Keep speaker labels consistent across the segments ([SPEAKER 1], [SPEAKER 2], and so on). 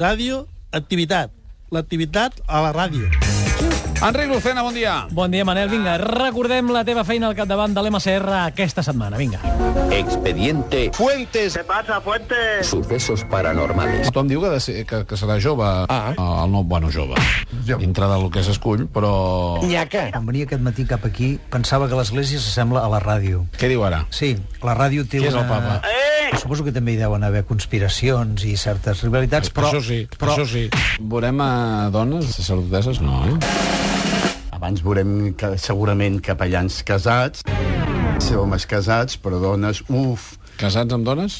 [SPEAKER 1] ràdio, activitat. L'activitat a la ràdio.
[SPEAKER 2] Enric Lucena, bon dia.
[SPEAKER 3] Bon dia, Manel. Vinga, recordem la teva feina al capdavant de l'MCR aquesta setmana. Vinga.
[SPEAKER 4] Expediente
[SPEAKER 5] Fuentes. ¿Qué pasa, Fuentes?
[SPEAKER 4] Sucesos Paranormales.
[SPEAKER 6] Tothom diu que, ha de ser, que, que serà jove.
[SPEAKER 2] Ah.
[SPEAKER 6] eh, El nou, bueno, jove.
[SPEAKER 7] Jo.
[SPEAKER 6] Dintre del que s'escull, però...
[SPEAKER 2] Nyaca.
[SPEAKER 7] Quan venia aquest matí cap aquí, pensava que l'església s'assembla a la ràdio.
[SPEAKER 6] Què diu ara? Eh?
[SPEAKER 7] Sí, la ràdio té
[SPEAKER 6] Qui és
[SPEAKER 7] una...
[SPEAKER 6] el papa?
[SPEAKER 7] Suposo que també hi deuen haver conspiracions i certes rivalitats, però...
[SPEAKER 6] això sí, però... això sí. Veurem a dones sacerdotesses? No, eh?
[SPEAKER 8] Abans veurem que, segurament capellans casats, ser homes casats, però dones, uf,
[SPEAKER 6] Casats amb dones?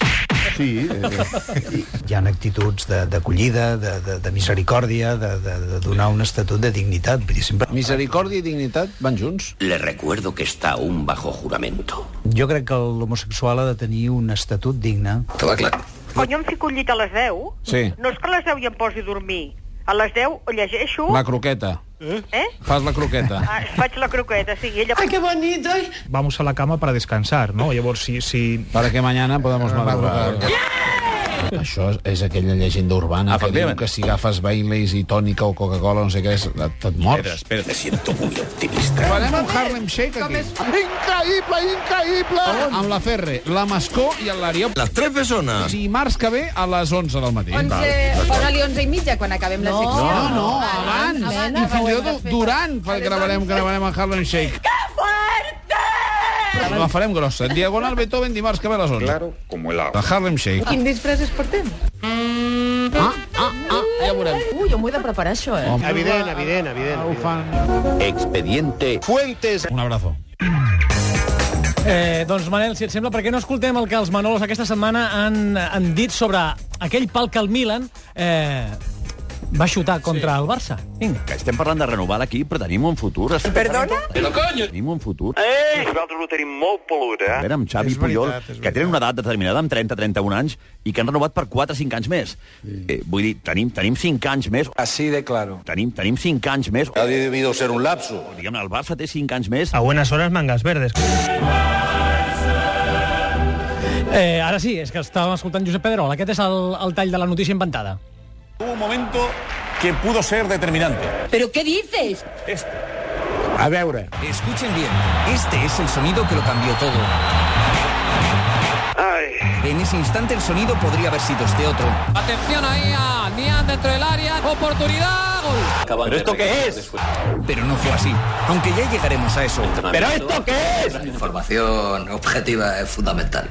[SPEAKER 8] sí. Eh,
[SPEAKER 7] Hi ha actituds de- d'acollida, de, de, de, misericòrdia, de, de, de donar un estatut de dignitat. Vull dir, sempre...
[SPEAKER 6] Misericòrdia i dignitat van junts?
[SPEAKER 4] Le recuerdo que está aún bajo juramento.
[SPEAKER 7] Jo crec que l'homosexual ha de tenir un estatut digne.
[SPEAKER 4] Todo claro.
[SPEAKER 9] Quan jo em fico al llit a les 10,
[SPEAKER 6] Sí.
[SPEAKER 9] no és que a les 10 ja em posi a dormir. A les 10 o llegeixo,
[SPEAKER 6] La croqueta.
[SPEAKER 9] eh?
[SPEAKER 6] Fas la croqueta.
[SPEAKER 9] Ah, faig la croqueta, sí, i ella... Ai, que...
[SPEAKER 10] vamos a la cama para descansar, ¿no? Llavors, si, si
[SPEAKER 6] Para que mañana podamos madrugar. Això és, és aquella llegenda urbana que diu
[SPEAKER 5] Efectivament.
[SPEAKER 6] que si agafes Baileys i tònica o Coca-Cola, no sé què, és, et, et mors.
[SPEAKER 5] Espera, espera.
[SPEAKER 4] Me siento muy optimista.
[SPEAKER 6] Farem un Harlem Shake aquí. Increïble, increïble! On? Amb la Ferre, la Mascó i el Larió.
[SPEAKER 5] Las tres personas.
[SPEAKER 6] I març que ve a les 11 del matí.
[SPEAKER 11] 11, posa-li 11 i mitja quan acabem la secció.
[SPEAKER 6] No, no, abans. I fins i tot durant fa- gravarem, gravarem el Harlem Shake. Que fuerte! La farem grossa. Diagonal Beethoven dimarts que ve a les 11. Claro, como el agua. El Harlem Shake.
[SPEAKER 11] Quin disfress es portem?
[SPEAKER 6] Ah, ah, ah, ja ho veurem.
[SPEAKER 11] Ui, jo m'ho he de preparar, això, eh?
[SPEAKER 6] Evident, evident, evident. Ho fan.
[SPEAKER 4] Expediente
[SPEAKER 5] Fuentes.
[SPEAKER 6] Un abrazo.
[SPEAKER 3] Eh, doncs, Manel, si et sembla, per què no escoltem el que els Manolos aquesta setmana han, han dit sobre aquell pal que el Milan eh, va xutar contra sí. el Barça? Vinga.
[SPEAKER 4] Que estem parlant de renovar l'equip, però tenim un futur. Perdona? Però coño! Tenim un futur. Eh! Nosaltres ho tenim molt pelut, eh? A veure, amb Xavi i Puyol, que tenen una edat determinada, amb 30-31 anys, i que han renovat per 4-5 anys més. Eh, vull dir, tenim, tenim 5 anys més. Así de claro. Tenim, tenim 5 anys més. Ha debido ser un lapso. Diguem, el Barça té 5 anys més.
[SPEAKER 10] a buenas horas mangas verdes.
[SPEAKER 3] Eh, ara sí, és que estàvem escoltant Josep Pedrol. Aquest és el, el tall de la notícia inventada.
[SPEAKER 5] Hubo un momento que pudo ser determinante.
[SPEAKER 11] Però què dices?
[SPEAKER 8] A veure,
[SPEAKER 2] Escuchen bien. Este es el sonido que lo cambió todo. En ese instante el sonido podría haber sido este otro. Atención ahí a Nian dentro del área. Oportunidad. Gol.
[SPEAKER 4] ¿Pero esto qué es?
[SPEAKER 2] Pero no fue así. Aunque ya llegaremos a eso.
[SPEAKER 4] ¿Pero esto qué es?
[SPEAKER 2] Información objetiva es fundamental.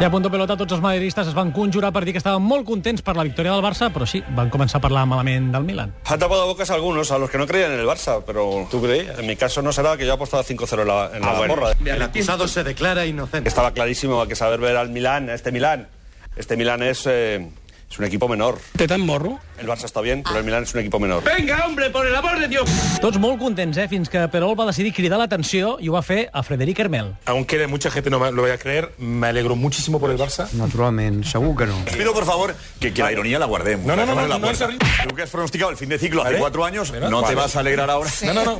[SPEAKER 3] I a punto pelota tots els madridistes es van conjurar per dir que estaven molt contents per la victòria del Barça, però sí, van començar a parlar malament del Milan.
[SPEAKER 5] Ha tapado bocas a algunos, a los que no creían en el Barça, pero tú creías. En mi caso no será que yo apostaba 5-0 en la, en la borra.
[SPEAKER 7] El acusado se declara inocente.
[SPEAKER 5] Estaba clarísimo que saber ver al Milán, a este Milán. Este Milán es, eh, es un equipo menor.
[SPEAKER 2] ¿Te tan morro?
[SPEAKER 5] El Barça está bien, pero el Milán es un equipo menor.
[SPEAKER 3] Tots molt contents, eh? Fins que Perol va decidir cridar l'atenció i ho va fer a Frederic Hermel.
[SPEAKER 10] Aunque mucha gente no me lo vaya a creer, me alegro muchísimo por el Barça.
[SPEAKER 7] Naturalment, segur que no.
[SPEAKER 5] Os pido, por favor, que, la ironía la guardemos. No, no, no, no, no, Tú que has pronosticado el fin de ciclo hace cuatro años, no te vas a alegrar ahora. No, no, no.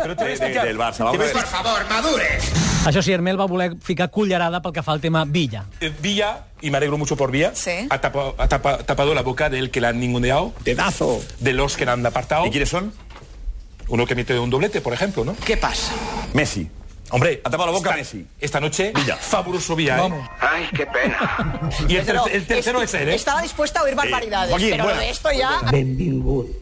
[SPEAKER 5] Pero del Barça, vamos a ver.
[SPEAKER 3] Això sí, Hermel va voler ficar cullerada pel que fa al tema Villa.
[SPEAKER 10] Villa, y me alegro mucho por Villa,
[SPEAKER 11] Sí.
[SPEAKER 10] ha, tapa- ha tapa- tapado la boca del que la han ninguneado,
[SPEAKER 4] Pedazo.
[SPEAKER 10] de los que la han apartado.
[SPEAKER 5] ¿Y quiénes son?
[SPEAKER 10] Uno que mete un doblete, por ejemplo, ¿no?
[SPEAKER 2] ¿Qué pasa?
[SPEAKER 5] Messi.
[SPEAKER 10] Hombre,
[SPEAKER 5] Ha tapado la boca
[SPEAKER 10] esta-
[SPEAKER 5] Messi.
[SPEAKER 10] Esta noche,
[SPEAKER 5] Villa.
[SPEAKER 10] fabuloso Villa. ¿eh?
[SPEAKER 4] Ay, qué pena.
[SPEAKER 10] Y el, ter- el tercero es él, ¿eh?
[SPEAKER 11] Estava dispuesta a oír barbaridades,
[SPEAKER 5] Joaquín,
[SPEAKER 11] però
[SPEAKER 5] buena.
[SPEAKER 11] de esto ya...